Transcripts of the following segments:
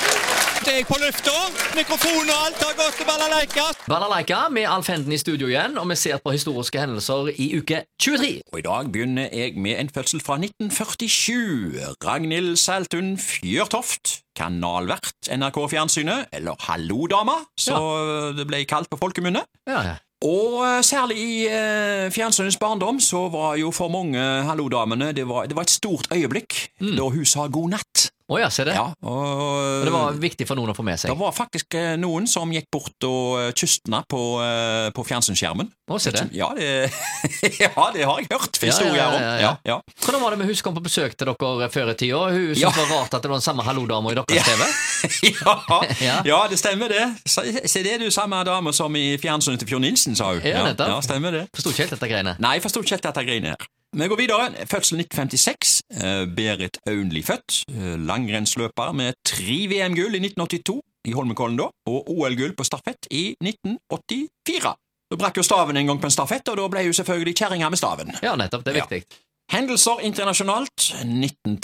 Snart er jeg på lufta. Mikrofon og alt har gått til balalaika. Balalaika med Alf Henden i studio igjen, og vi ser på historiske hendelser i uke 23. Og i dag begynner jeg med en fødsel fra 1947. Ragnhild Saltun Fjørtoft, kanalvert NRK Fjernsynet, eller Hallo dama, så det ble kalt på folkemunne. Ja, ja. Og eh, særlig i eh, fjernsynets barndom så var jo for mange Hallo-damene det, var- det var et stort øyeblikk da hun sa god natt. Å Mm. ja, se det. Ja, og, Og det var viktig for noen å få med det seg. var faktisk eh, noen som gikk bort og eh, kystna på, eh, på fjernsynsskjermen. Å, se det. Ja, det, ja, det har jeg hørt Ja, ja, historier ja, om. ja, ja. Ja, ja. Hvordan var det med hun som kom på besøk til dere før i tida? Hun syntes Ja. det var rart at det var den samme hallo-dama i deres TV. Ja. Ja, ja, det stemmer det. Se- Se det, du, samme dame som i fjernsynet til Fjord Nilsen, sa hun. Ja, nettopp. ja stemmer det. Forsto ikke helt dette greiene. Nei, jeg forstår ikke helt dette greiene her. Vi går videre. Fødsel 1956. Eh, Berit Aunli født. Eh, Langrennsløper med tre VM-gull i 1982 i Holmenkollen da, og OL-gull på stafett i 1984. Hun brakk jo staven en gang på en stafett, og da ble hun selvfølgelig kjerringa med staven. Ja, nettopp. Det er Ja. viktig. Hendelser internasjonalt.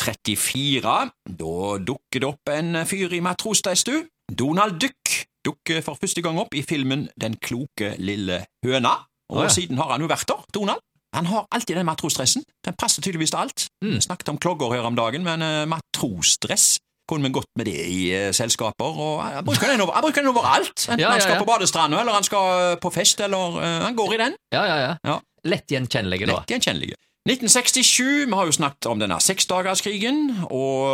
1934. Da dukker det opp en fyr i matrosdeistu. Donald Duck dukker for første gang opp i filmen Den kloke lille høna. Og Å, ja. siden har han jo vært der, Donald. Han har alltid den matrosdressen. Den passer tydeligvis til alt. Mm. Vi Snakket om klogger her om dagen, men eh, matrosdress kunne vi godt med det i eh, selskaper. Og han bruker den, over, han bruker den overalt. Enten Ja, ja, han skal ja. på badestranda, eller han skal på fest, eller eh, han går i den. Ja, ja, ja. Ja. Lett gjenkjennelige, da. Lett gjenkjennelige. 1967, vi har jo snakket om denne seksdagerskrigen, og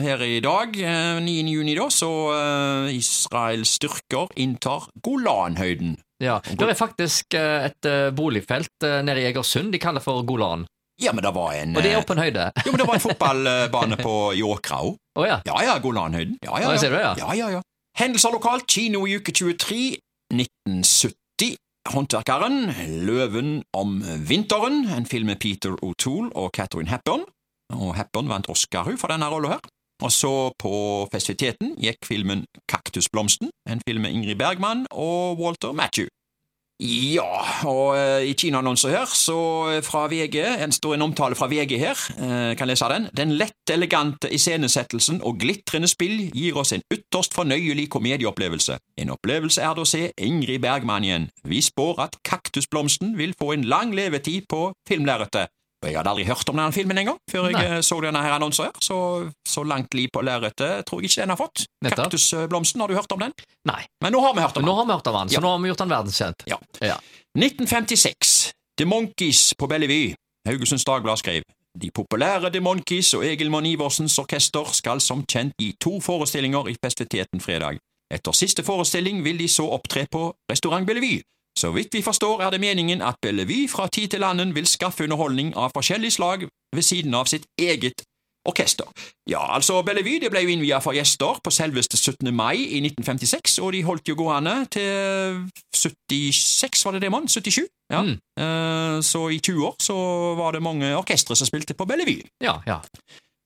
her i dag, eh, 9. juni da, så eh, Israels styrker inntar Golanhøyden. Ja. Det er faktisk eh, et eh, boligfelt eh, nede i Egersund de kaller for Golan. Ja, men det var en Og det er eh, oppe på en høyde. Jo, men det var en fotballbane på i Åkra òg. Å ja. Ja ja, Golanhøyden. Ja ja Ja, ja. ser du, ja. ja, ja, ja. Hendelser lokalt, kino i uke 23, 1970. Håndverkeren, Løven om vinteren, en film med Peter O'Toole og Catherine Hepburn. Og Hepburn vant Oscar hun for denne rollen her. Og så på festiviteten gikk filmen Kaktusblomsten, en film med Ingrid Bergman og Walter Matthew. Ja, og eh, i kinoannonser her, så eh, fra VG, en står en omtale fra VG her, eh, kan lese den. Den lett elegante iscenesettelsen og glitrende spill gir oss en ytterst fornøyelig komedieopplevelse. En opplevelse er det å se Ingrid Bergman igjen. Vi spår at kaktusblomsten vil få en lang levetid på filmlerretet. Og Jeg hadde aldri hørt om denne filmen engang før jeg Nei. eh, så denne her annonsen her, så, så langt liv på lerretet tror jeg ikke den har fått. Nettopp. Kaktusblomsten, har du hørt om den? Nei. Men nå har vi hørt om den. Nå har vi hørt om han, så Ja. nå har vi gjort han verdenskjent. Ja. Ja. 1956. The Monkees på Bellevue. Haugesunds Dagblad skrev de populære The Monkees og Egil Monn Iversens orkester skal som kjent gi to forestillinger i festiviteten fredag. Etter siste forestilling vil de så opptre på Restaurant Bellevue. Så vidt vi forstår er det meningen at Bellevue fra tid til annen vil skaffe underholdning av forskjellig slag ved siden av sitt eget orkester. Ja, altså Bellevue det ble jo innviet for gjester på selveste 17. mai i 1956, og de holdt jo gående til 76, var det det mann? 77? Ja. Mm. Eh, Så i 20 år så var det mange orkestre som spilte på Bellevue. Ja, ja.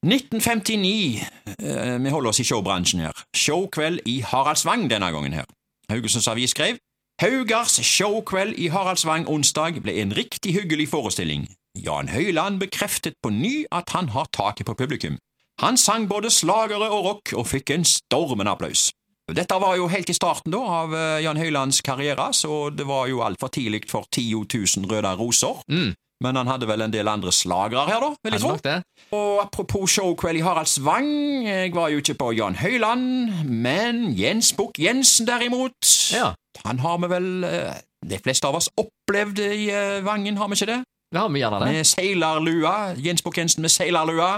1959, eh, vi holder oss i showbransjen her, showkveld i Haraldsvang denne gangen her. Haugesunds Avis skrev Haugars showkveld i Haraldsvang onsdag ble en riktig hyggelig forestilling. Jan Høiland bekreftet på ny at han har taket på publikum. Han sang både slagere og rock og fikk en stormende applaus. Dette var jo helt i starten da av eh, Jan Høilands karriere, så det var jo altfor tidlig for 10 000 røde roser. Mm. Men han hadde vel en del andre slagere her, da, Er vil jeg det tro. nok det? Og apropos showkveld i Haraldsvang, jeg var jo ikke på Jan Høyland, men Jens Bukk Jensen derimot, Ja. han har vi vel, eh, de fleste av oss, opplevd i eh, Vangen, har vi ikke det? Det har vi gjerne det. Med seilerlua, Jens Bukk Jensen med seilerlua.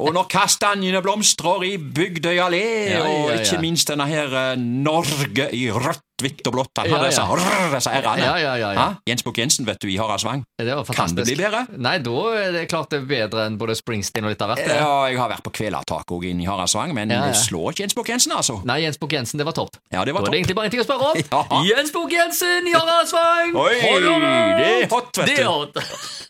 og når kastanjene blomstrer i Bygdøy allé, Ja, ja, og ja. ikke minst denne her eh, Norge i rødt, hvitt og blått, han Ja, har ja. disse, rrr, disse r-ene. Ja, ja, ja. ja. Hæ? Jens Bukk Jensen, vet du, i Haraldsvang. Det var Kan det fantastisk. bli bedre? Nei, da er det klart det er bedre enn både Springsteen og litt av hvert. det. Ja, jeg har vært på kvelertak òg inne i Haraldsvang, men Ja, ja. det slår ikke Jens Bukk Jensen, altså. Nei, Jens Bukk Jensen, det var topp. Ja, Da det var er det topp. egentlig bare en ting å spørre om. Ja. Jens Bukk Jensen, Jarasvang! Oi, det er hot, vet Det er du. hot.